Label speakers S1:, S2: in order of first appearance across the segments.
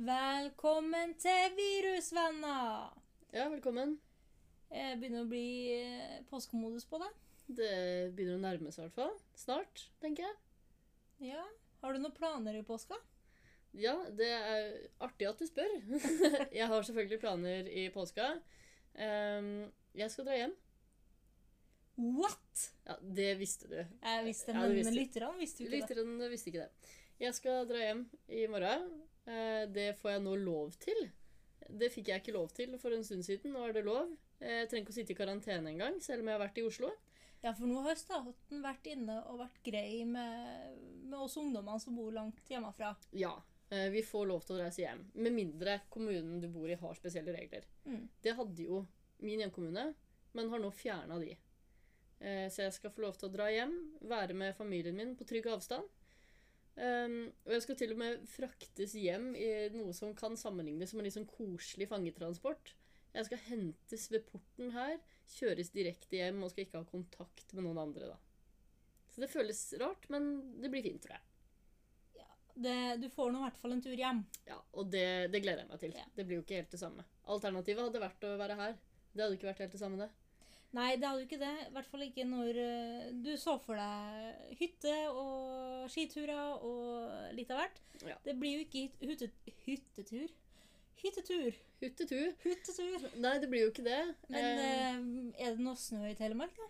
S1: Velkommen til Virusvenner!
S2: Ja, velkommen.
S1: Jeg begynner å bli eh, påskemodus på det.
S2: Det begynner å nærme seg i hvert fall. Snart, tenker jeg.
S1: Ja. Har du noen planer i påska?
S2: Ja, det er artig at du spør. jeg har selvfølgelig planer i påska. Ehm, jeg skal dra hjem.
S1: What?!
S2: Ja, det visste du.
S1: Jeg visste det,
S2: Ja, du
S1: men
S2: visste det.
S1: lytterne visste jo ikke det.
S2: Lytteren visste ikke det. Jeg skal dra hjem i morgen. Eh, Det får jeg nå lov til. Det fikk jeg ikke lov til for en stund siden. Nå er det lov. Eh, Jeg trenger ikke å sitte i karantene engang, selv om jeg har vært i Oslo.
S1: Ja, for nå har staten vært inne og vært grei med, med oss ungdommene som bor langt hjemmefra.
S2: Ja, eh, vi får lov til å reise hjem. Med mindre kommunen du bor i har spesielle regler.
S1: Mm.
S2: Det hadde jo min hjemkommune, men har nå fjerna de. Eh, Så jeg skal få lov til å dra hjem, være med familien min på trygg avstand. Um, og jeg skal til og med fraktes hjem i noe som kan sammenlignes som en litt sånn koselig fangetransport. Jeg skal hentes ved porten her, kjøres direkte hjem og skal ikke ha kontakt med noen andre. da. Så det føles rart, men det blir fint, tror jeg.
S1: Det, du får nå i hvert fall en tur hjem.
S2: Ja, og det, det gleder jeg meg til.
S1: Ja.
S2: Det blir jo ikke helt det samme. Alternativet hadde vært å være her. Det hadde ikke vært helt det samme, det.
S1: Nei, det hadde jo ikke det. I hvert fall ikke når eh, du så for deg hytte og skiturer og litt av hvert.
S2: Ja.
S1: Det blir jo ikke hyt- hytte, hyttetur. Hyttetur!
S2: Huttetu.
S1: Hyttetur!
S2: Nei, det blir jo ikke det.
S1: Men
S2: eh,
S1: eh, er det noe snø i Telemark, da?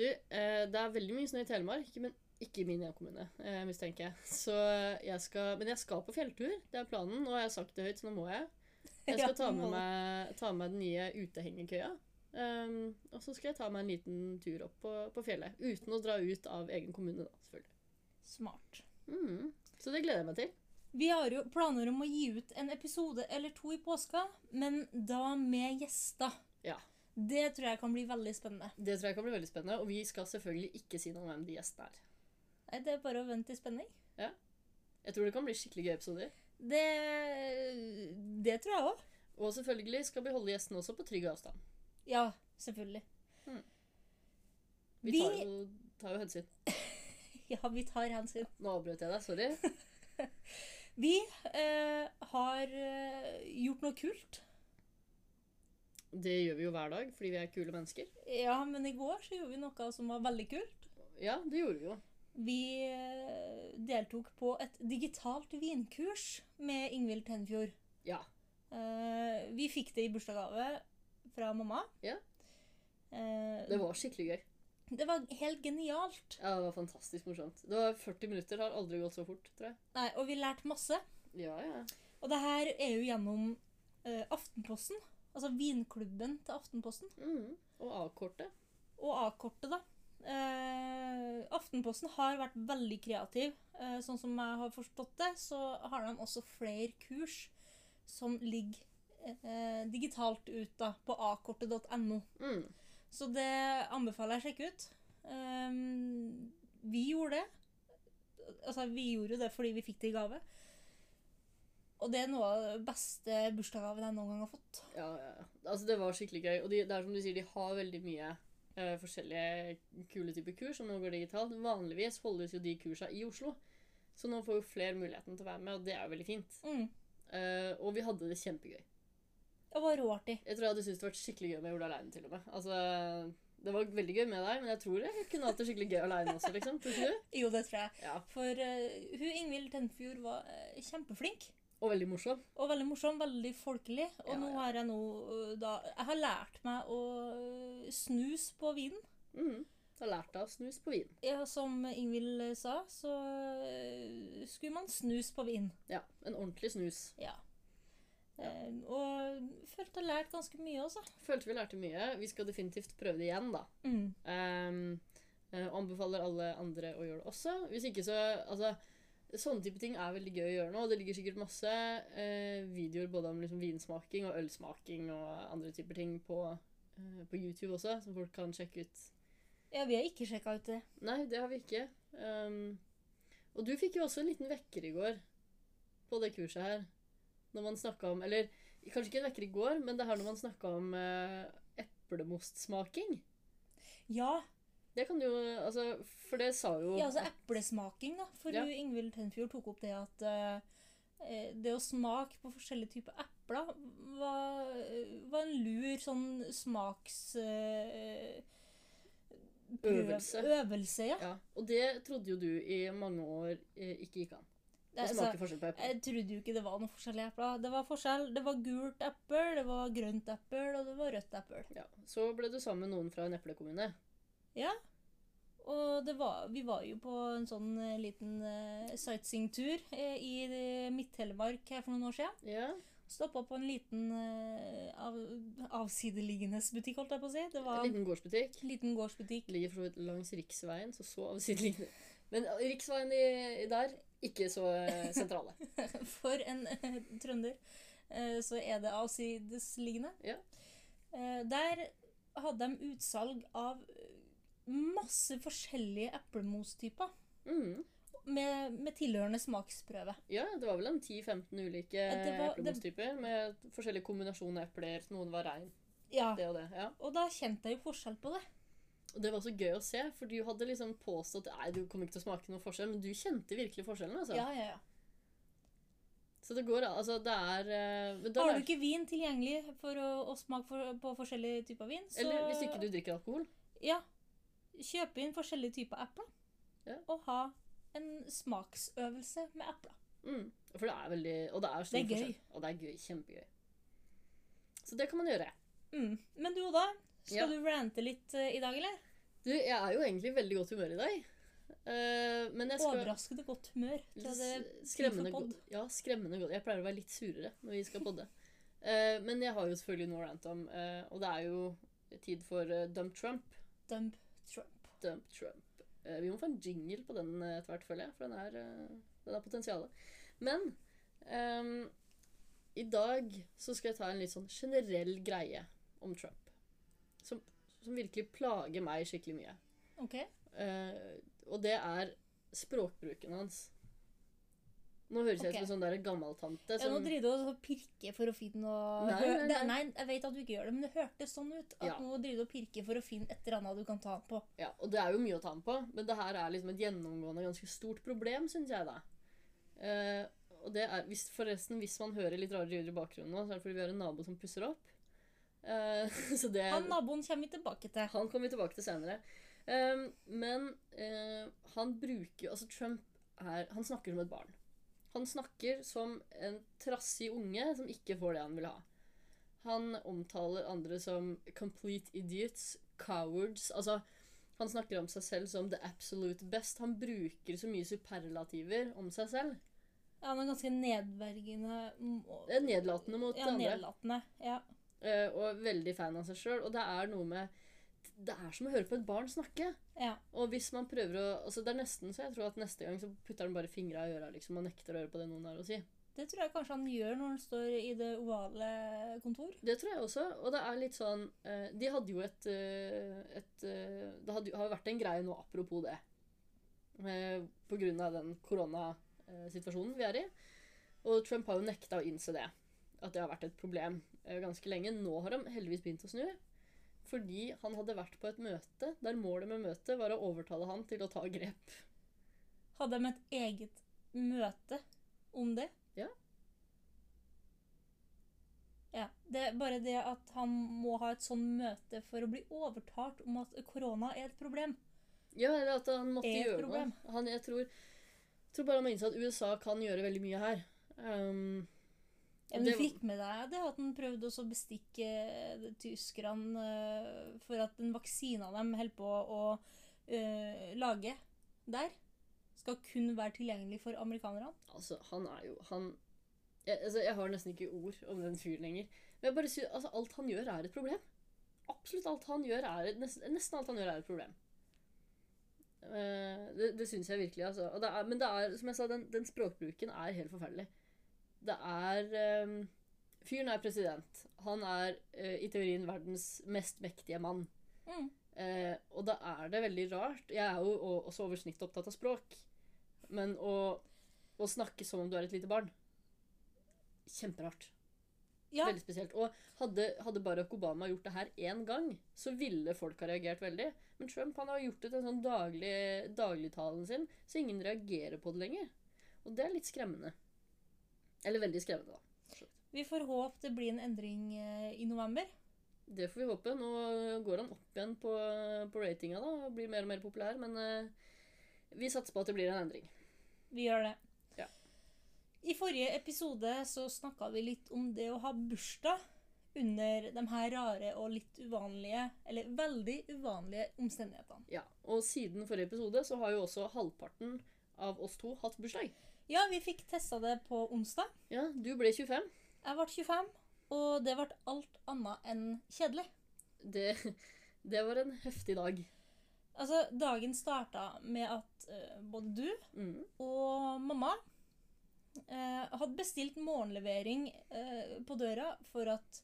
S2: du, eh, det er veldig mye snø i Telemark, men ikke i min hjemkommune, eh, mistenker jeg. Så eh, jeg skal, men jeg skal på fjelltur. Det er planen. Nå har jeg sagt det høyt, så nå må jeg. Jeg
S1: Ja,
S2: skal ta
S1: du
S2: med
S1: må det.
S2: meg, ta med meg den nye utehengekøya. Um, og så skal jeg ta meg en liten tur opp på, på fjellet. Uten å dra ut av egen kommune, da, selvfølgelig.
S1: Smart.
S2: Mm. Så det gleder jeg meg til.
S1: Vi har jo planer om å gi ut en episode eller to i påska, men da med gjester.
S2: Ja.
S1: Det tror jeg kan bli veldig spennende.
S2: Det tror jeg kan bli veldig spennende, og vi skal selvfølgelig ikke si noe om hvem de gjestene er.
S1: Nei, Det er bare å vente i spenning.
S2: Jeg tror det kan bli skikkelig gøy episoder.
S1: Det, det tror jeg òg.
S2: Og selvfølgelig skal vi holde gjestene også på trygg avstand.
S1: Ja, selvfølgelig.
S2: Mm.
S1: Vi,
S2: Vi tar jo, tar jo hensyn.
S1: Ja, vi tar hensyn.
S2: Nå avbrøt jeg deg, sorry.
S1: Vi eh, har eh, gjort noe kult.
S2: Det gjør vi jo hver dag, fordi vi er kule mennesker.
S1: Ja, men i går så gjorde vi noe som var veldig kult.
S2: Ja, det gjorde vi jo.
S1: Vi eh, deltok på et digitalt vinkurs med Ingvild Tenfjord.
S2: Ja.
S1: Eh, Vi fikk det i bursdagsgave fra mamma.
S2: Ja.
S1: Eh,
S2: Det var skikkelig gøy.
S1: det var helt genialt.
S2: Ja, det var fantastisk morsomt. Det var 40 minutter, har aldri gått så fort, tror jeg.
S1: Nei, og vi lærte masse.
S2: Ja, ja.
S1: Og det her er jo gjennom eh, Aftenposten. Altså vinklubben til Aftenposten.
S2: Mhm. Og avkortet.
S1: Og A-kortet, da. Eh, Aftenposten har vært veldig kreativ. Eh, sånn som jeg har forstått det, så har de også flere kurs som ligger eh, digitalt ut da, på akortet.no.
S2: Mhm.
S1: Så det anbefaler jeg å sjekke ut. Ehm, vi gjorde det. Altså, vi gjorde jo det fordi vi fikk det i gave. Og det er noe av det beste bursdagsgaven jeg noen gang har fått.
S2: Ja, ja. ja. Altså, det var skikkelig gøy. Og de, det er som du sier, de har veldig mye eh, forskjellige kule typer kurs som nå går digitalt. Vanligvis holdes jo de kursa i Oslo. Så nå får jo flere muligheten til å være med, og det er jo veldig fint.
S1: Mm.
S2: Eh, og vi hadde det kjempegøy.
S1: Det var råartig.
S2: Jeg tror jeg hadde syntes det var skikkelig gøy om jeg gjorde det aleine, til og med. Altså, det var veldig gøy med deg, men jeg tror jeg kunne hatt det skikkelig gøy aleine også, liksom. Tror ikke du?
S1: Jo, det tror jeg.
S2: Ja.
S1: For eh, hun Ingvild Tenfjord var eh, kjempeflink.
S2: Og veldig morsom.
S1: Og veldig morsom, veldig folkelig. Og
S2: Ja,
S1: nå
S2: ja.
S1: har jeg nå eh, da Jeg har lært meg å eh, snus på vinen.
S2: Mhm. Har lært deg å snus på vin.
S1: Ja, som Ingvild eh, sa, så eh, skulle man snus på vin.
S2: Ja. En ordentlig snus.
S1: Ja.
S2: Ja.
S1: Eh, og følte jeg lært ganske mye også.
S2: Følte vi lærte mye. Vi skal definitivt prøve det igjen, da.
S1: Mm.
S2: Ehm, eh, anbefaler alle andre å gjøre det også. Hvis ikke så Altså, sånne type ting er veldig gøy å gjøre nå. og Det ligger sikkert masse eh, videoer både om liksom vinsmaking og ølsmaking og andre typer ting på, eh, på YouTube også, som folk kan sjekke ut.
S1: Ja, vi har ikke sjekka ut det.
S2: Nei, det har vi ikke. Ehm, og du fikk jo også en liten vekker i går på det kurset her. Når man snakka om Eller kanskje ikke en vekker i går, men det her når man snakka om eh, eplemostsmaking.
S1: Ja,
S2: Det kan du jo Altså, for det sa jo
S1: Ja, altså eplesmaking, da. For
S2: Ja.
S1: hun Ingvild Tenfjord tok opp det at eh, det å smake på forskjellige typer epler var, var en lur sånn smaks... eh, prøv-
S2: Øvelse.
S1: Øvelse, ja.
S2: ja. Og det trodde jo du i mange år eh, ikke gikk an. Å
S1: Altså,
S2: smake forskjell på eple.
S1: jeg trodde jo ikke det var noen forskjellige epler. Det var forskjell. Det var gult eppel, det var grønt eppel, og det var rødt eppel.
S2: Ja. Så ble du sammen med noen fra en eplekommune.
S1: Og det var, vi var jo på en sånn eh, liten eh, sightseeingtur eh, i Midt-Telemark her for noen år siden.
S2: Ja.
S1: Stoppa på en liten eh, av, avsideliggende butikk, holdt jeg på å si. Det
S2: En
S1: var en
S2: liten gårdsbutikk.
S1: liten gårdsbutikk.
S2: Ligger for så vidt langs riksveien, så så avsideliggende. Men riksveien i, i der, ikke så eh, sentrale.
S1: For en eh, trønder eh, så er det avsidesliggende.
S2: Ja.
S1: Eh, der hadde de utsalg av eh, masse forskjellige eplemostyper.
S2: Mm.
S1: Med, med tilhørende smaksprøve.
S2: Ja, det var vel en 10-15 ulike
S1: det var- det-
S2: eplemostyper med forskjellig kombinasjon av epler. Noen var rein,
S1: Ja,
S2: det og det. ja.
S1: Og da kjente jeg jo forskjell på det.
S2: Og det var så gøy å se, for du hadde liksom påstått Nei, du kommer ikke til å smake noen forskjell, men du kjente virkelig forskjellen. altså.
S1: Ja, ja, ja.
S2: Så det går, an. altså. Det er eh, men da
S1: Har du
S2: lær-
S1: ikke vin tilgjengelig for å, å smake for, på forskjellige typer vin, så
S2: Eller hvis ikke du drikker alkohol.
S1: Ja. Kjøpe inn forskjellige typer epler.
S2: Ja.
S1: Og ha en smaksøvelse med epler.
S2: Mm. For det er veldig Og det er,
S1: Det er
S2: stor
S1: gøy.
S2: forskjell. Og det er gøy. Kjempegøy. Så det kan man gjøre.
S1: Mm. Men du Oda, skal
S2: Ja.
S1: du rante litt eh, i dag, eller?
S2: Du, jeg er jo egentlig i veldig godt humør i dag. Eh, men jeg skal
S1: Overraskende godt humør. Til det
S2: Litt skremmende
S1: podd.
S2: godt. Ja, skremmende godt. Jeg pleier å være litt surere når vi skal podde. Eh, men jeg har jo selvfølgelig noe å rante om, eh, og det er jo tid for eh, Dump Trump.
S1: Dump Trump.
S2: Dump Trump. Eh, vi må få en jingle på den eh, etter hvert, føler jeg, for den er, eh, den er potensialet. Men ehm, i dag så skal jeg ta en litt sånn generell greie om Trump. Som, som virkelig plager meg skikkelig mye.
S1: OK?
S2: Eh, og det er språkbruken hans. Nå høres jeg ut som en sånn der gammeltante
S1: Ja, nå
S2: som
S1: driver du og pirker for å finne noe
S2: Nei, nei,
S1: Hø- det-
S2: nei.
S1: nei, jeg vet at du ikke gjør det, men det hørtes sånn ut. At
S2: Ja.
S1: nå driver du og pirker for å finne et eller annet du kan ta den på.
S2: ja, Og det er jo mye å ta den på, men det her er liksom et gjennomgående ganske stort problem, syns jeg, da. Eh, og det er hvis, Forresten, hvis man hører litt rare lyder i bakgrunnen nå, så er det fordi vi har en nabo som pusser opp. Eh, så det
S1: Han naboen kommer vi tilbake til.
S2: Han kommer vi tilbake til senere. Ehm, men eh, han bruker Altså, Trump er Han snakker som et barn. Han snakker som en trassig unge som ikke får det han vil ha. Han omtaler andre som 'complete idiots', 'cowards' Altså, han snakker om seg selv som 'the absolute best'. Han bruker så mye superlativer om seg selv.
S1: Ja, han er ganske nedverdigende må-
S2: Det er nedlatende mot
S1: Ja,
S2: andre.
S1: nedlatende. Ja.
S2: eh, og veldig fan av seg sjøl. Og det er noe med Det er som å høre på et barn snakke.
S1: ja.
S2: Og hvis man prøver å altså Det er nesten så jeg tror at neste gang så putter han bare fingra i øra liksom, og nekter å høre på det noen har å si.
S1: Det tror jeg kanskje han gjør når han står i det ovale kontor.
S2: Det tror jeg også. Og det er litt sånn eh, De hadde jo et, eh, et eh, Det hadde, jo- har vært en greie nå apropos det. Eh, på grunn av den koronasituasjonen vi er i. Og Trump har jo nekta å innse det. At det har vært et problem eh, ganske lenge. Nå har han heldigvis begynt å snu. Fordi han hadde vært på et møte der målet med møtet var å overtale han til å ta grep.
S1: Hadde de et eget møte om det?
S2: Ja.
S1: Ja, Det er bare det at han må ha et sånn møte for å bli overtalt om at korona er et problem.
S2: Ja, eller at han måtte
S1: Er et
S2: gjøre
S1: problem.
S2: noe. Han, jeg tror, tror bare han må innse at USA kan gjøre veldig mye her. Ehm,
S1: Ja, men Du
S2: Det-
S1: fikk med deg det at han prøvde også å bestikke eh, tyskerne eh, for at den vaksina de holder på å eh, lage der, skal kun være tilgjengelig for amerikanerne?
S2: altså, han er jo Han jeg, altså, jeg har nesten ikke ord om den fyren lenger. Men jeg bare synes, altså, alt han gjør, er et problem. Absolutt alt han gjør, er et, nesten, nesten alt han gjør, er et problem. Eh, det det syns jeg virkelig, altså. Og det er, men det er, som jeg sa, den, den språkbruken er helt forferdelig. Det er ehm, Fyren er president. Han er eh, i teorien verdens mest mektige mann.
S1: Mm.
S2: Eh, og da er det veldig rart Jeg er jo o- også over snittet opptatt av språk. Men å, å snakke som om du er et lite barn Kjemperart.
S1: Ja,
S2: Veldig spesielt. Og hadde, hadde Barack Obama gjort det her én gang, så ville folk ha reagert veldig. Men Trump han har gjort det til en sånn daglig, dagligtalen sin, så ingen reagerer på det lenger. Og det er litt skremmende. Eller veldig skremmende, da.
S1: vi får håpe det blir en endring eh, i november.
S2: Det får vi håpe. Nå går han opp igjen på, på ratinga da, og blir mer og mer populær. Men eh, vi satser på at det blir en endring.
S1: Vi gjør det.
S2: Ja.
S1: I forrige episode så snakka vi litt om det å ha bursdag under de her rare og litt uvanlige, eller veldig uvanlige omstendighetene.
S2: Ja, Og siden forrige episode så har jo også halvparten av oss to hatt bursdag.
S1: Ja, vi fikk testa det på onsdag.
S2: Ja, Du ble 25.
S1: Jeg ble 25, og det ble alt annet enn kjedelig.
S2: Det, det var en heftig dag.
S1: Altså, dagen starta med at eh, både du
S2: Mm.
S1: og mamma eh, hadde bestilt morgenlevering eh, på døra for at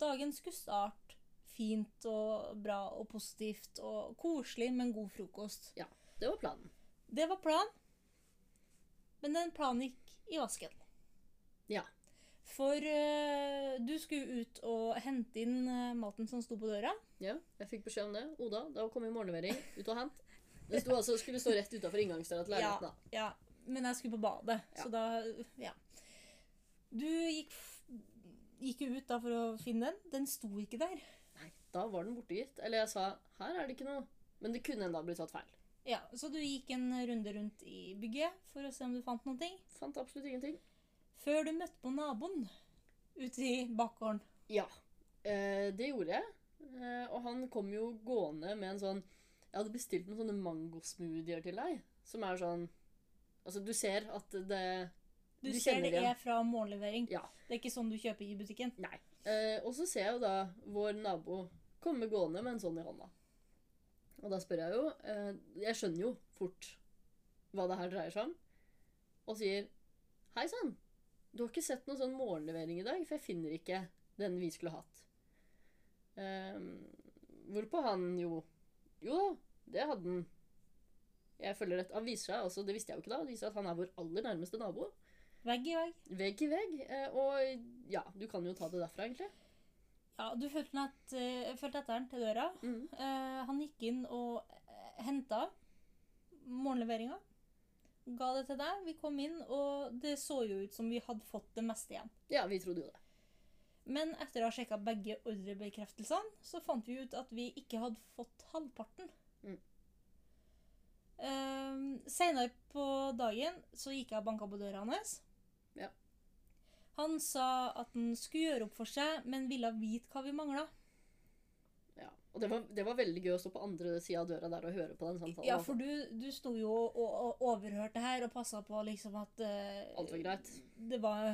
S1: dagen skulle starte fint og bra og positivt og koselig med en god frokost.
S2: Det var planen.
S1: Det var planen, men den planen gikk i vasken.
S2: Ja.
S1: For eh, du skulle ut og hente inn eh, maten som sto på døra.
S2: Ja, jeg fikk beskjed om det. Oda, da kom i morgenlevering. Ut og hent. Det sto altså, skulle stå rett utafor inngangsdøra til leiligheten. da.
S1: Ja, men jeg skulle på badet,
S2: Ja.
S1: så da Ja. Du gikk, f- gikk jo ut da for å finne den. Den sto ikke der.
S2: Nei, da var den borte, gitt. Eller jeg sa 'her er det ikke noe'. Men det kunne enda blitt tatt feil.
S1: Ja, Så du gikk en runde rundt i bygget for å se om du fant noe.
S2: Fant absolutt ingenting.
S1: Før du møtte på naboen ute i bakgården.
S2: Ja, eh, det gjorde jeg. Eh, og han kom jo gående med en sånn Jeg hadde bestilt noen sånne mangosmoothier til deg. Som er sånn Altså, du ser at det
S1: Du,
S2: Du
S1: ser
S2: kjenner
S1: det
S2: igjen.
S1: er fra morgenlevering.
S2: Ja.
S1: Det er ikke sånn du kjøper i butikken.
S2: Nei. Eh, og så ser jeg jo da vår nabo komme gående med en sånn i hånda. Og da spør jeg jo eh, Jeg skjønner jo fort hva det her dreier seg om. Og sier Hei sann, du har ikke sett noen sånn morgenlevering i dag, for jeg finner ikke den vi skulle hatt. Eh, hvorpå han jo Jo da, det hadde han. Jeg følger et, Han viser seg også, det visste jeg jo ikke da, det viser at han er vår aller nærmeste nabo.
S1: Vegg i vegg.
S2: Vegg i vegg. eh, Og ja, du kan jo ta det derfra, egentlig.
S1: Ja, Du fulgte den et- eh, fulgte etter den til døra.
S2: Mm.
S1: Eh, han gikk inn og eh, henta morgenleveringa. Ga det til deg. Vi kom inn, og det så jo ut som vi hadde fått det meste igjen.
S2: Ja, vi trodde jo det.
S1: Men etter å ha sjekka begge ordrebekreftelsene, så fant vi ut at vi ikke hadde fått halvparten.
S2: Mm.
S1: Eh, Seinere på dagen så gikk jeg og banka på døra hans.
S2: Ja.
S1: Han sa at han skulle gjøre opp for seg, men ville vite hva vi mangla.
S2: Ja. Og det var, det var veldig gøy å stå på andre sida av døra der og høre på den samtalen.
S1: Ja, for du, du sto jo og, og overhørte her og passa på liksom at eh,
S2: Alt var greit.
S1: Det var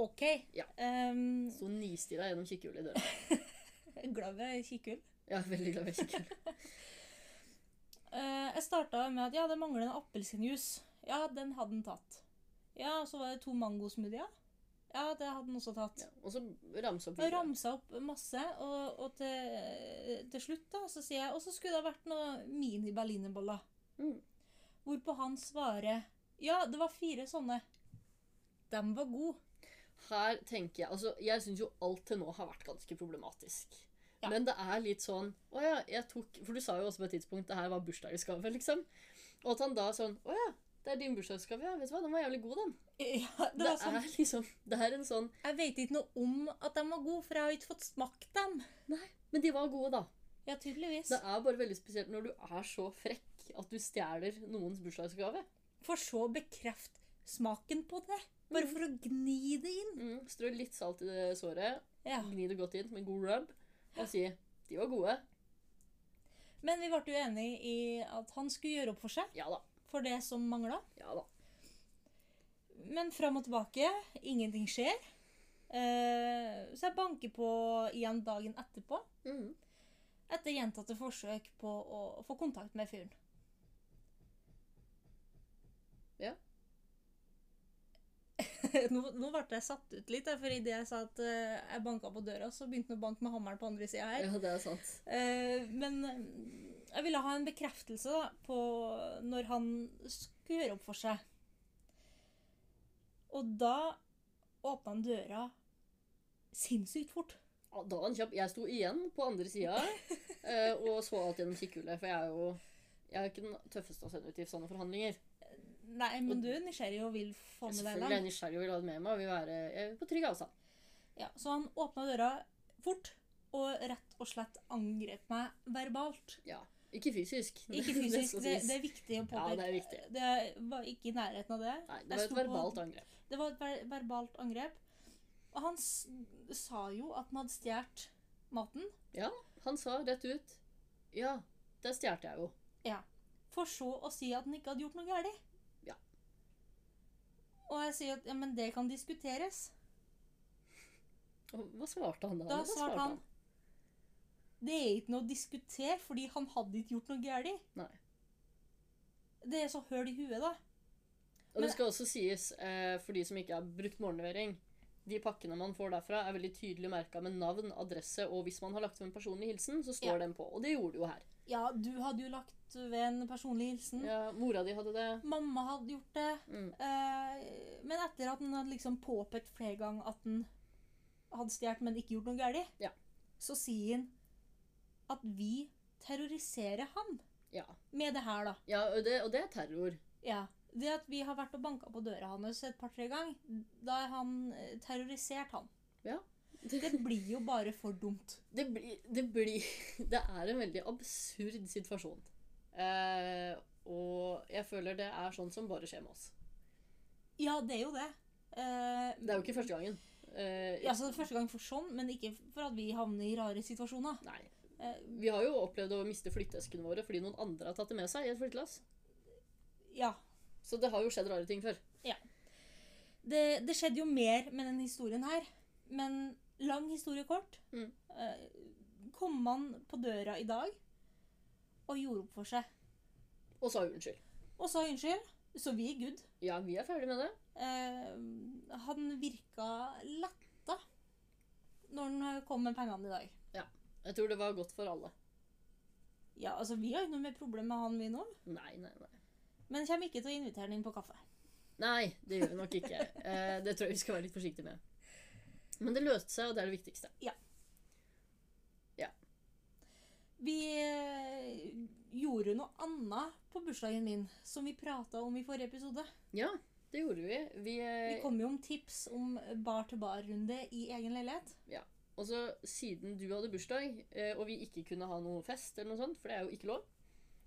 S1: OK.
S2: Ja.
S1: Ehm,
S2: Sto nistira gjennom kikkehullet i døra.
S1: jeg er glad ved kikkhul.
S2: Ja, veldig glad i kikkehull.
S1: Eh, jeg starta med at ja, det mangler en appelsinjuice. Ja, den hadde han tatt. Ja, så var det to mangosmoothier. Ja, det hadde han også tatt.
S2: Ja. Og så ramse opp
S1: Jeg
S2: videre.
S1: ramsa opp masse, og, og til, til slutt da, så sier jeg Og så skulle det ha vært noe mini-berlinerboller.
S2: Mm.
S1: Hvorpå han svarer Ja, det var fire sånne. Dem var gode.
S2: Her tenker jeg Altså, jeg syns jo alt til nå har vært ganske problematisk.
S1: Ja.
S2: Men det er litt sånn Å ja, jeg tok For du sa jo også på et tidspunkt det her var bursdagsgave, liksom. Og at han da sånn Å ja, det er din bursdagsgave, ja. Vet du hva, den var jævlig god, den.
S1: Ja, det
S2: Det,
S1: var sånn,
S2: er liksom Det er en sånn
S1: Jeg vet ikke noe om at de var gode, for jeg har ikke fått smakt dem.
S2: Men de var gode, da.
S1: Ja, tydeligvis.
S2: Det er bare veldig spesielt når du er så frekk at du stjeler noens bursdagsgave.
S1: For så å bekrefte smaken på det. Bare for å gni det inn.
S2: Mm, strø litt salt i det såret,
S1: Ja.
S2: gni det godt inn med god rub, og si 'de var gode'.
S1: Men vi ble jo enige i at han skulle gjøre opp for seg
S2: Ja da.
S1: for det som mangla.
S2: Ja da.
S1: Men fram og tilbake. Ingenting skjer. Eh, så jeg banker på igjen dagen etterpå.
S2: Mm.
S1: Etter gjentatte forsøk på å få kontakt med fyren.
S2: Ja.
S1: nå, nå ble jeg satt ut litt, der, for idet jeg sa at eh, jeg banka på døra, så begynte han å banke med hammeren på andre sida her.
S2: Ja, det er sant.
S1: Eh, men eh, jeg ville ha en bekreftelse da, på når han skulle gjøre opp for seg. Og da åpna han døra sinnssykt fort.
S2: Ja, Da var han kjapp. Jeg sto igjen på andre sida eh, og så alt gjennom kikkhullet. For jeg er jo jeg er ikke den tøffeste å sende ut i sånne forhandlinger.
S1: Nei, men du er nysgjerrig og vil få med deg
S2: Selvfølgelig er jeg
S1: land.
S2: nysgjerrig og vil ha det med meg og vil være eh, på trygg avstand.
S1: Ja, så han åpna døra fort og rett og slett angrep meg verbalt.
S2: Ja. Ikke fysisk.
S1: Ikke
S2: Det
S1: fysisk,
S2: skal
S1: det,
S2: sies.
S1: det er viktig å
S2: Ja, det
S1: påpeke.
S2: er viktig.
S1: Det var ikke i nærheten av det.
S2: Nei,
S1: Jeg
S2: det var
S1: sto
S2: et
S1: på-
S2: verbalt angrep.
S1: Det var et ver verbalt angrep. Og han s sa jo at han hadde stjålet maten,
S2: Han sa rett ut Ja, det stjal jeg jo.
S1: for så å si at han ikke hadde gjort noe galt.
S2: Ja.
S1: Og jeg sier at ja, men det kan diskuteres.
S2: Og hva svarte han da?
S1: Da
S2: Hva
S1: svarte han Det er ikke noe å diskutere, fordi han hadde ikke gjort noe galt.
S2: Nei.
S1: Det er så høl i huet, da.
S2: Og
S1: Men-
S2: det skal også sies, eh, for de som ikke har brukt morgenlevering De pakkene man får derfra, er veldig tydelig merka med navn, adresse, og hvis man har lagt ved en personlig hilsen, så står
S1: Ja.
S2: den på. Og det gjorde du jo her.
S1: Ja, du hadde jo lagt ved en personlig hilsen.
S2: Ja, mora di hadde det.
S1: Mamma hadde gjort det.
S2: Mm.
S1: Eh, men etter at han hadde liksom påpekt flere ganger at han hadde stjålet, men ikke gjort noe galt,
S2: Ja.
S1: så sier han at vi terroriserer han
S2: Ja.
S1: med det her, da.
S2: ja og, det, og det er terror.
S1: Ja. Det at vi har vært og banka på døra hans et par-tre ganger, da har han eh, terrorisert han.
S2: Ja.
S1: Det blir jo bare for dumt.
S2: det blir, det blir Det er en veldig absurd situasjon. Eh, og jeg føler det er sånn som bare skjer med oss.
S1: Ja, det er jo det. Eh,
S2: Det er jo ikke første gangen. Eh,
S1: ja, så det er første gang for sånn, men ikke for at vi havner i rare situasjoner.
S2: Nei.
S1: Eh,
S2: Vi har jo opplevd å miste flytteeskene våre fordi noen andre har tatt det med seg i et flyttelass.
S1: ja.
S2: Så det har jo skjedd rare ting før.
S1: det, det skjedde jo mer med den historien her. Men lang historie kort.
S2: Mm.
S1: Eh, kom han på døra i dag og gjorde opp for seg.
S2: Og sa unnskyld.
S1: Og sa unnskyld, så vi er good.
S2: Ja, vi er ferdig med det.
S1: Eh, han virka letta når han kom med pengene i dag.
S2: Jeg tror det var godt for alle.
S1: Ja, altså Vi har jo ikke noe mer problem med han, vi nå.
S2: Nei, nei, nei.
S1: Men kommer ikke til å invitere han inn på kaffe.
S2: Nei, det gjør vi nok ikke. Eh, det tror jeg vi skal være litt forsiktige med. Men det løste seg, og det er det viktigste.
S1: Vi eh, gjorde noe annet på bursdagen min som vi prata om i forrige episode.
S2: Ja, det gjorde vi. Vi, eh,
S1: Vi kommer jo om tips om bar-til-bar-runde i egen leilighet.
S2: Og så siden du hadde bursdag, eh, og vi ikke kunne ha noe fest, eller noe sånt, for det er jo ikke lov,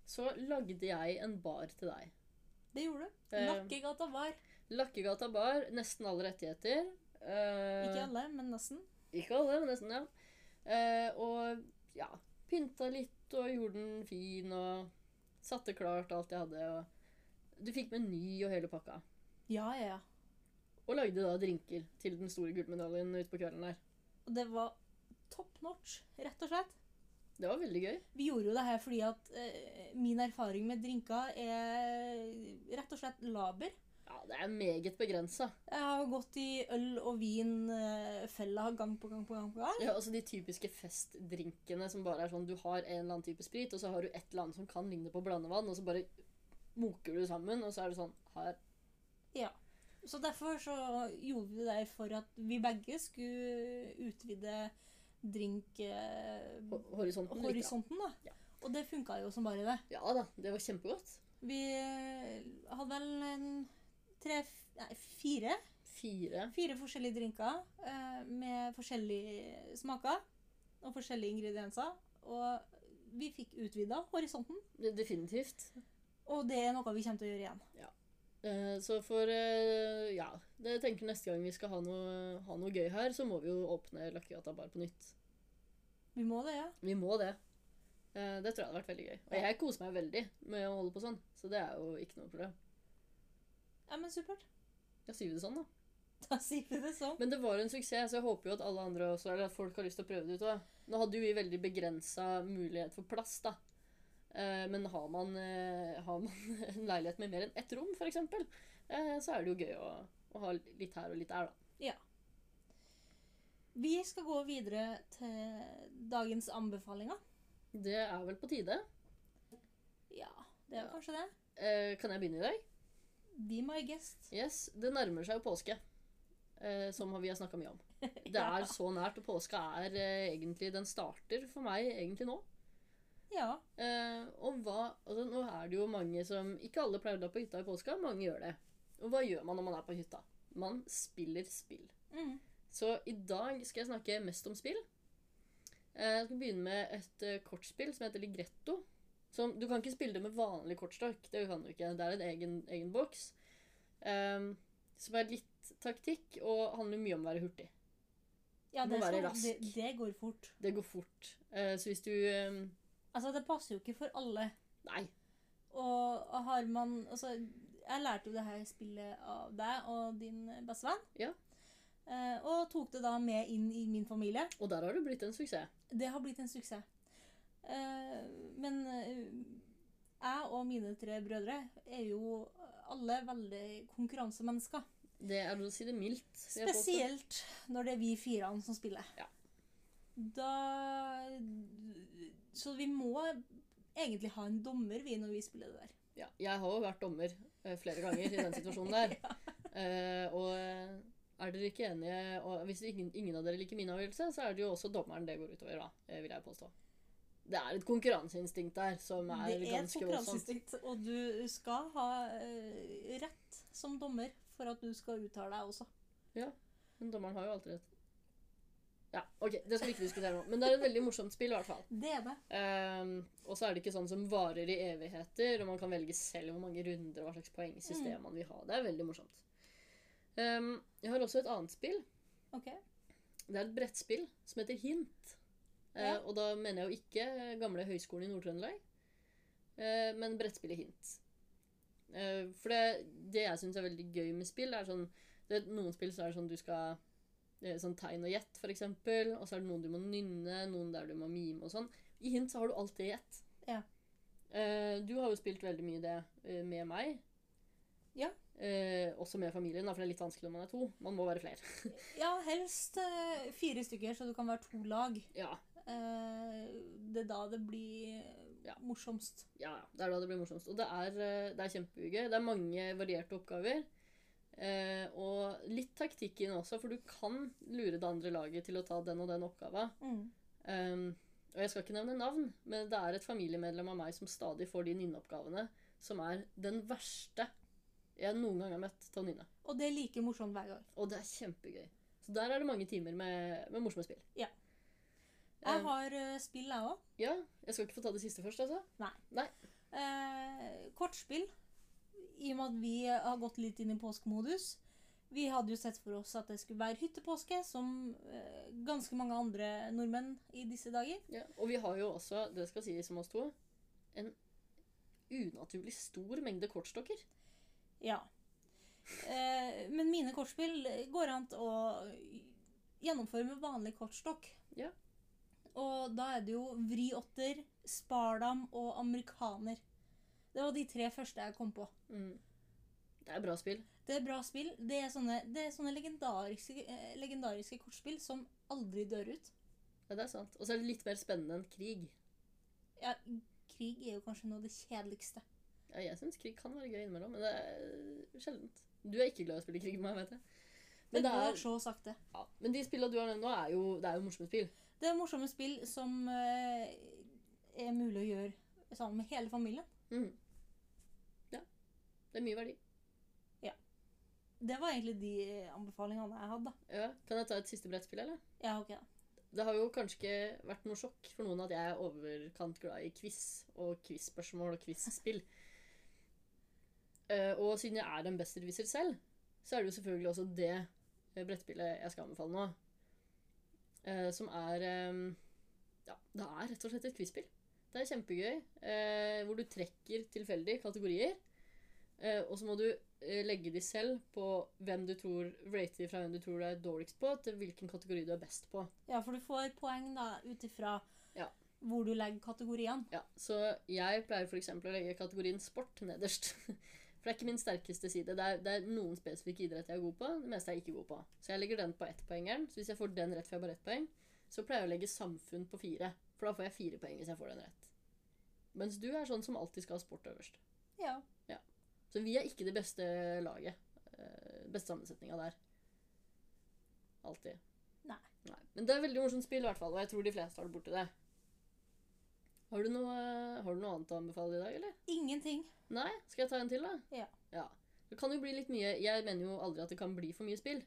S2: så lagde jeg en bar til deg.
S1: Det gjorde du.
S2: Eh,
S1: Lakkegata bar.
S2: Lakkegata bar, nesten alle rettigheter. eh,
S1: Ikke alle, men nesten.
S2: Ikke alle, men nesten, ja. Eh, og ja, pynta litt og gjorde den fin og satte klart alt jeg hadde. og Du fikk meny og hele pakka.
S1: Ja, ja, ja.
S2: Og lagde da drinker til den store gullmedaljen ute på kvelden der.
S1: Og det var top notch, rett og slett.
S2: Det var veldig gøy.
S1: Vi gjorde jo det her fordi at eh, min erfaring med drinker er rett og slett laber.
S2: Ja, det er meget begrensa.
S1: Jeg har gått i øl- og vinfella gang på gang på gang. på gang.
S2: Ja, altså De typiske festdrinkene som bare er sånn du har en eller annen type sprit, og så har du et eller annet som kan ligne på blandevann, og så bare moker du det sammen, og så er det sånn her.
S1: Så derfor så gjorde vi det der for at vi begge skulle utvide drink... eh,
S2: ho- Horisonten. litt, da.
S1: horisonten, da.
S2: Ja.
S1: Og det funka jo som bare det.
S2: Ja da, det var kjempegodt.
S1: Vi eh, hadde vel en tre f- Nei, fire.
S2: Fire.
S1: Fire forskjellige drinker eh, med forskjellige smaker og forskjellige ingredienser. Og vi fikk utvida horisonten,
S2: De- Definitivt.
S1: og det er noe vi kommer til å gjøre igjen.
S2: Eh, Så for eh, Ja. Det jeg tenker neste gang vi skal ha noe, ha noe gøy her, så må vi jo åpne Lakkegata bar på nytt.
S1: Vi må det, ja.
S2: Vi må det. Eh, Det tror jeg hadde vært veldig gøy. Og jeg koser meg veldig med å holde på sånn, så det er jo ikke noe problem.
S1: Ja, men supert.
S2: Ja, sier vi det sånn, da.
S1: Da sier vi det sånn.
S2: Men det var en suksess, så jeg håper jo at alle andre også, eller at folk har lyst til å prøve det ut òg. Nå hadde jo vi veldig begrensa mulighet for plass, da. Eh, Men har man, eh, har man en leilighet med mer enn ett rom, f.eks., så er det jo gøy å, å ha litt her og litt der, da.
S1: Vi skal gå videre til dagens anbefalinger.
S2: Det er vel på tide.
S1: Ja, det er
S2: Ja.
S1: kanskje det.
S2: Eh, Kan jeg begynne i dag?
S1: Be my guest.
S2: Yes. Det nærmer seg jo påske. Eh, eh, som vi har snakka mye om. Det er så nært, og påska er eh, egentlig Den starter for meg egentlig nå.
S1: Ja.
S2: Eh, og hva altså, Nå er det jo mange som Ikke alle pleier å dra på hytta i påska, mange gjør det. Og hva gjør man når man er på hytta? Man spiller spill.
S1: Mm.
S2: Så i dag skal jeg snakke mest om spill. Eh, Jeg skal begynne med et eh, kortspill som heter Ligretto. Som, du kan ikke spille det med vanlig kortstokk. Det kan du ikke. Det er en egen, egen boks. ehm, som er litt taktikk og handler mye om å være hurtig.
S1: ja
S2: Må
S1: det,
S2: være
S1: skal,
S2: rask.
S1: det, det går fort.
S2: Det går fort. Eh, så hvis du ehm,
S1: Altså, det passer jo ikke for alle.
S2: Nei.
S1: Og har man Altså, jeg lærte jo det her spillet av deg og din bestevenn.
S2: Ja.
S1: Eh, og tok det da med inn i min familie.
S2: Og der har du blitt en suksess.
S1: Det har blitt en suksess. Eh, men eh, jeg og mine tre brødre er jo alle veldig konkurransemennesker.
S2: Det er å si det mildt. vil jeg påstå.
S1: Spesielt når det er vi firene som spiller.
S2: Ja.
S1: Da Så vi må egentlig ha en dommer, vi, når vi spiller det der.
S2: Ja, jeg har jo vært dommer eh, flere ganger i den situasjonen der. Eh, og eh, er dere ikke enige og Hvis ingen, ingen av dere liker min avgjørelse, så er det jo også dommeren det går utover, da, eh, vil jeg påstå. Det er et konkurranseinstinkt der som er,
S1: det er et
S2: ganske voldsomt.
S1: konkurranseinstinkt, og du skal ha eh, rett som dommer for at du skal uttale deg også.
S2: Men dommeren har jo alltid rett. Ja, OK, det skal vi ikke diskutere nå. Men det er et veldig morsomt spill, i hvert fall.
S1: Det er det.
S2: Ehm, og så er det ikke sånn som varer i evigheter, og man kan velge selv hvor mange runder og hva slags poengsystem
S1: Mm.
S2: man vil ha. Det er veldig morsomt. Ehm, jeg har også et annet spill.
S1: Ok.
S2: Det er et brettspill som heter Hint. Eh,
S1: Ja.
S2: og da mener jeg jo ikke gamle Høgskolen i Nord-Trøndelag, eh, men brettspillet Hint. Eh, for det, det jeg syns er veldig gøy med spill, er sånn det er Noen spill så er det sånn du skal eh, Sånn tegn og gjett, for eksempel. Og så er det noen du må nynne, noen der du må mime og sånn. I Hint så har du alltid gjett.
S1: Ja.
S2: Eh, du har jo spilt veldig mye det eh, med meg.
S1: Ja.
S2: Eh, også med familien, da, for det er litt vanskelig når man er to. Man må være flere.
S1: Ja, helst eh, fire stykker, så du kan være to lag.
S2: Ja.
S1: Eh, det er da det blir
S2: Ja.
S1: morsomst.
S2: Ja, ja. Det er da det blir morsomst. Og det er, eh, det er kjempegøy. Det er mange varierte oppgaver. Eh, og litt taktikk inn også, for du kan lure det andre laget til å ta den og den oppgava.
S1: Mm.
S2: Um, og jeg skal ikke nevne navn, men det er et familiemedlem av meg som stadig får de nynneoppgavene som er den verste jeg noen gang har møtt til å nynne.
S1: Og det er like morsomt hver gang.
S2: Og det er kjempegøy. Så der er det mange timer med, med morsomme spill.
S1: Ja.
S2: Eh,
S1: Jeg har eh, spill, jeg òg.
S2: ja. Jeg skal ikke få ta det siste først, altså.
S1: Eh, kortspill. I og med at vi har gått litt inn i påskemodus. Vi hadde jo sett for oss at det skulle være hyttepåske, som eh, ganske mange andre nordmenn i disse dager.
S2: Ja, og vi har jo også, det skal sies om oss to, en unaturlig stor mengde kortstokker.
S1: Ja. Eh, men mine kortspill går an å gjennomføre med vanlig kortstokk.
S2: Ja.
S1: Og da er det jo vriåtter, spardam og amerikaner. Det var de tre første jeg kom på.
S2: Mm. Det er bra spill.
S1: Det er bra spill. Det er sånne, det er sånne legendariske, eh, legendariske kortspill som aldri dør ut.
S2: Ja, det er sant. Og så er det litt mer spennende enn krig.
S1: Ja, krig er jo kanskje noe av det kjedeligste.
S2: Ja, jeg syns krig kan være gøy innimellom, men det er sjeldent. Du er ikke glad i å spille krig med meg, vet jeg.
S1: Det,
S2: Men, det
S1: går
S2: er,
S1: så sakte.
S2: ja, men de spillene du har nevnt nå, er jo, det er jo morsomme spill.
S1: Det er morsomme spill som eh, er mulig å gjøre sammen med hele familien.
S2: Mhm. Ja. Det er mye verdi.
S1: Det var egentlig de eh, anbefalingene jeg hadde.
S2: Ja. Kan jeg ta et siste brettspill, eller?
S1: Ja, ok da.
S2: Det har jo kanskje ikke vært noe sjokk for noen at jeg er overkant glad i quiz og quiz-spørsmål og quiz-spill. Eh, og siden jeg er en besserwisser selv, så er det jo selvfølgelig også det eh, brettspillet jeg skal anbefale nå. Eh, som er eh, Ja, det er rett og slett et quiz-spill. Det er kjempegøy. eh, hvor du trekker tilfeldig kategorier. eh, og så må du eh, legge de selv på hvem du tror rate de fra hvem du tror du er dårligst på, til hvilken kategori du er best på.
S1: Ja, for du får poeng da ut ifra
S2: Ja.
S1: hvor du legger kategoriene.
S2: Ja, så jeg pleier for eksempel å legge kategorien sport nederst. For det er ikke min sterkeste side. Det er, det er noen spesifikke idrett jeg er god på, det meste jeg er ikke god på. Så jeg legger den på ettpoengeren. Så hvis jeg får den rett før jeg bare ett poeng, så pleier jeg å legge samfunn på fire. For da får jeg fire poeng hvis jeg får den rett. Mens du er sånn som alltid skal ha sport øverst.
S1: Ja.
S2: Så vi er ikke det beste laget. eh, Beste sammensetninga der. Alltid.
S1: Nei.
S2: Men det er veldig morsomt spill, i hvert fall, og jeg tror de fleste har det borti det. Har du, noe, har du noe annet å anbefale i dag, eller?
S1: Ingenting.
S2: Nei? Skal jeg ta en til, da?
S1: Ja.
S2: Det kan jo bli litt mye Jeg mener jo aldri at det kan bli for mye spill.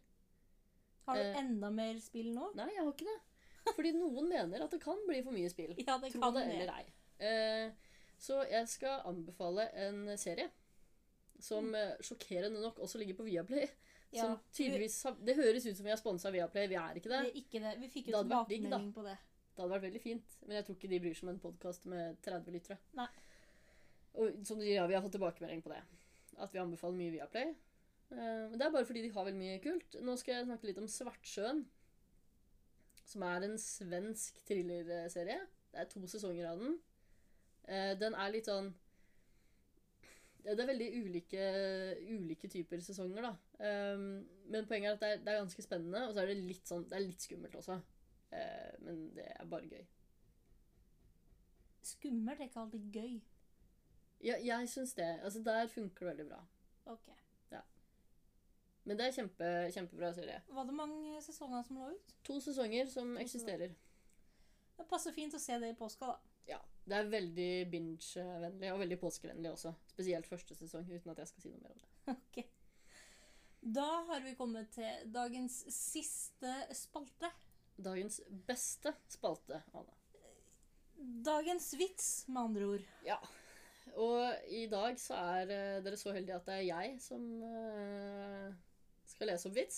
S1: Har du
S2: Eh.
S1: enda mer spill nå?
S2: Nei, jeg har ikke det. Fordi noen mener at det kan bli for mye spill.
S1: Ja, det
S2: Tro
S1: kan
S2: det
S1: det.
S2: eller ei. Eh, så jeg skal anbefale en serie som
S1: Mm.
S2: eh, sjokkerende nok også ligger på Viaplay.
S1: Ja,
S2: Som tydeligvis har- Det høres ut som vi har sponsa Viaplay, vi er ikke det.
S1: Det er ikke det. Vi fikk jo
S2: Det hadde vært digg, da.
S1: tilbakemelding på det.
S2: Det hadde vært veldig fint, men jeg tror ikke de bryr seg om en podkast med 30 lyttere.
S1: Nei.
S2: Og som de, ja, vi har fått tilbakemelding på det. At vi anbefaler mye Viaplay. Eh, Men det er bare fordi de har veldig mye kult. Nå skal jeg snakke litt om Svartsjøen. Som er en svensk thrillerserie. Det er to sesonger av den. Eh, Den er litt sånn Det det er veldig ulike, ulike typer sesonger, da. Eh, Men poenget er at det er, det er ganske spennende, og så er det litt sånn Det er litt skummelt også. Eh, Men det er bare gøy.
S1: Skummelt er ikke alltid gøy.
S2: Ja, jeg syns det. Altså, der funker det veldig bra.
S1: Ok.
S2: Men det er kjempe, kjempebra serie.
S1: Var det mange sesonger som lå ut?
S2: To sesonger som
S1: sesonger.
S2: eksisterer.
S1: Det passer fint å se det i påska, da.
S2: Ja. Det er veldig binge-vennlig, og veldig påskevennlig også. Spesielt første sesong, uten at jeg skal si noe mer om det.
S1: Ok. Da har vi kommet til dagens siste spalte.
S2: Dagens beste spalte, Anna.
S1: Dagens vits, med andre ord.
S2: Ja. Og i dag så er eh, dere så heldige at det er jeg som eh, skal lese opp vits.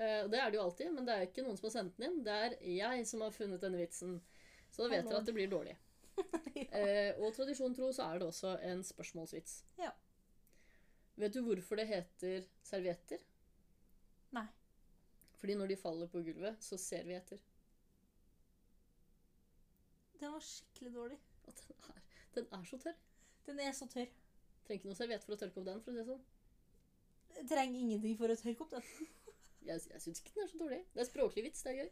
S2: Eh, Og det er det jo alltid, men det er ikke noen som har sendt den inn. Det er jeg som har funnet denne vitsen. Så da vet dere at det blir dårlig.
S1: Ja.
S2: Eh, og tradisjon tro så er det også en spørsmålsvits.
S1: Ja.
S2: Vet du hvorfor det heter servietter?
S1: Nei.
S2: Fordi når de faller på gulvet, så ser vi etter.
S1: Den var skikkelig dårlig.
S2: At den er, den er så tørr.
S1: Den er så tørr.
S2: Trenger ikke noe serviett for å tørke opp den. for å si det sånn.
S1: Jeg trenger ingenting for å tørke opp den.
S2: Jeg, jeg syns ikke den er så dårlig. Det er språklig vits. Det er gøy.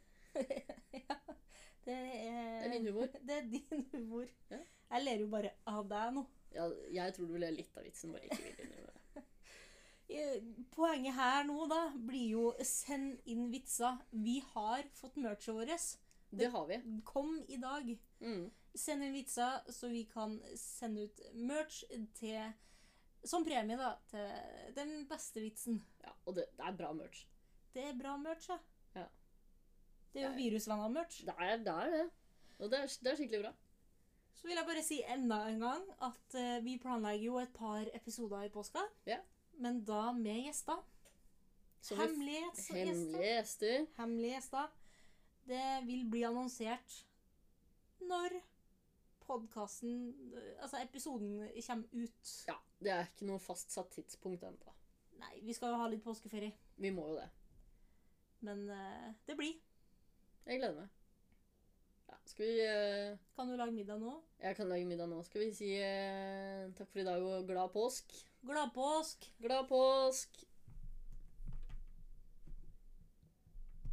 S1: Det er,
S2: Det er min humor.
S1: Det er din humor.
S2: Ja.
S1: Jeg ler jo bare av deg nå.
S2: Ja, jeg tror du vil le litt av vitsen, bare ikke vil innrømme det.
S1: Eh, Poenget her nå da blir jo send inn vitser. Vi har fått merchet vårt.
S2: Det har vi.
S1: Kom i dag.
S2: Mm.
S1: Send inn vitser, så vi kan sende ut merch til Som premie, da. Til den beste vitsen.
S2: Ja, og det, det er bra merch.
S1: Det er bra merch, ja.
S2: Ja.
S1: Det er jo virusvenner merch.
S2: Det er det. Er det. Og det er, det er skikkelig bra.
S1: Så vil jeg bare si enda en gang at eh, vi planlegger jo et par episoder i påska.
S2: Ja.
S1: Men da med gjester.
S2: Så vi-
S1: Hemmelighetsgjester.
S2: Hemmelige gjester.
S1: Hemmelige gjester. Det vil bli annonsert når podkasten Altså episoden kommer ut.
S2: Ja, det er ikke noe fastsatt tidspunkt ennå.
S1: Nei, vi skal jo ha litt påskeferie.
S2: Vi må jo det.
S1: Men eh, det blir.
S2: Jeg gleder meg. Ja, skal vi eh,
S1: Kan du lage middag nå?
S2: Jeg kan lage middag nå. Skal vi si eh, takk for i dag og glad påsk?
S1: Glad påsk!
S2: Glad påsk!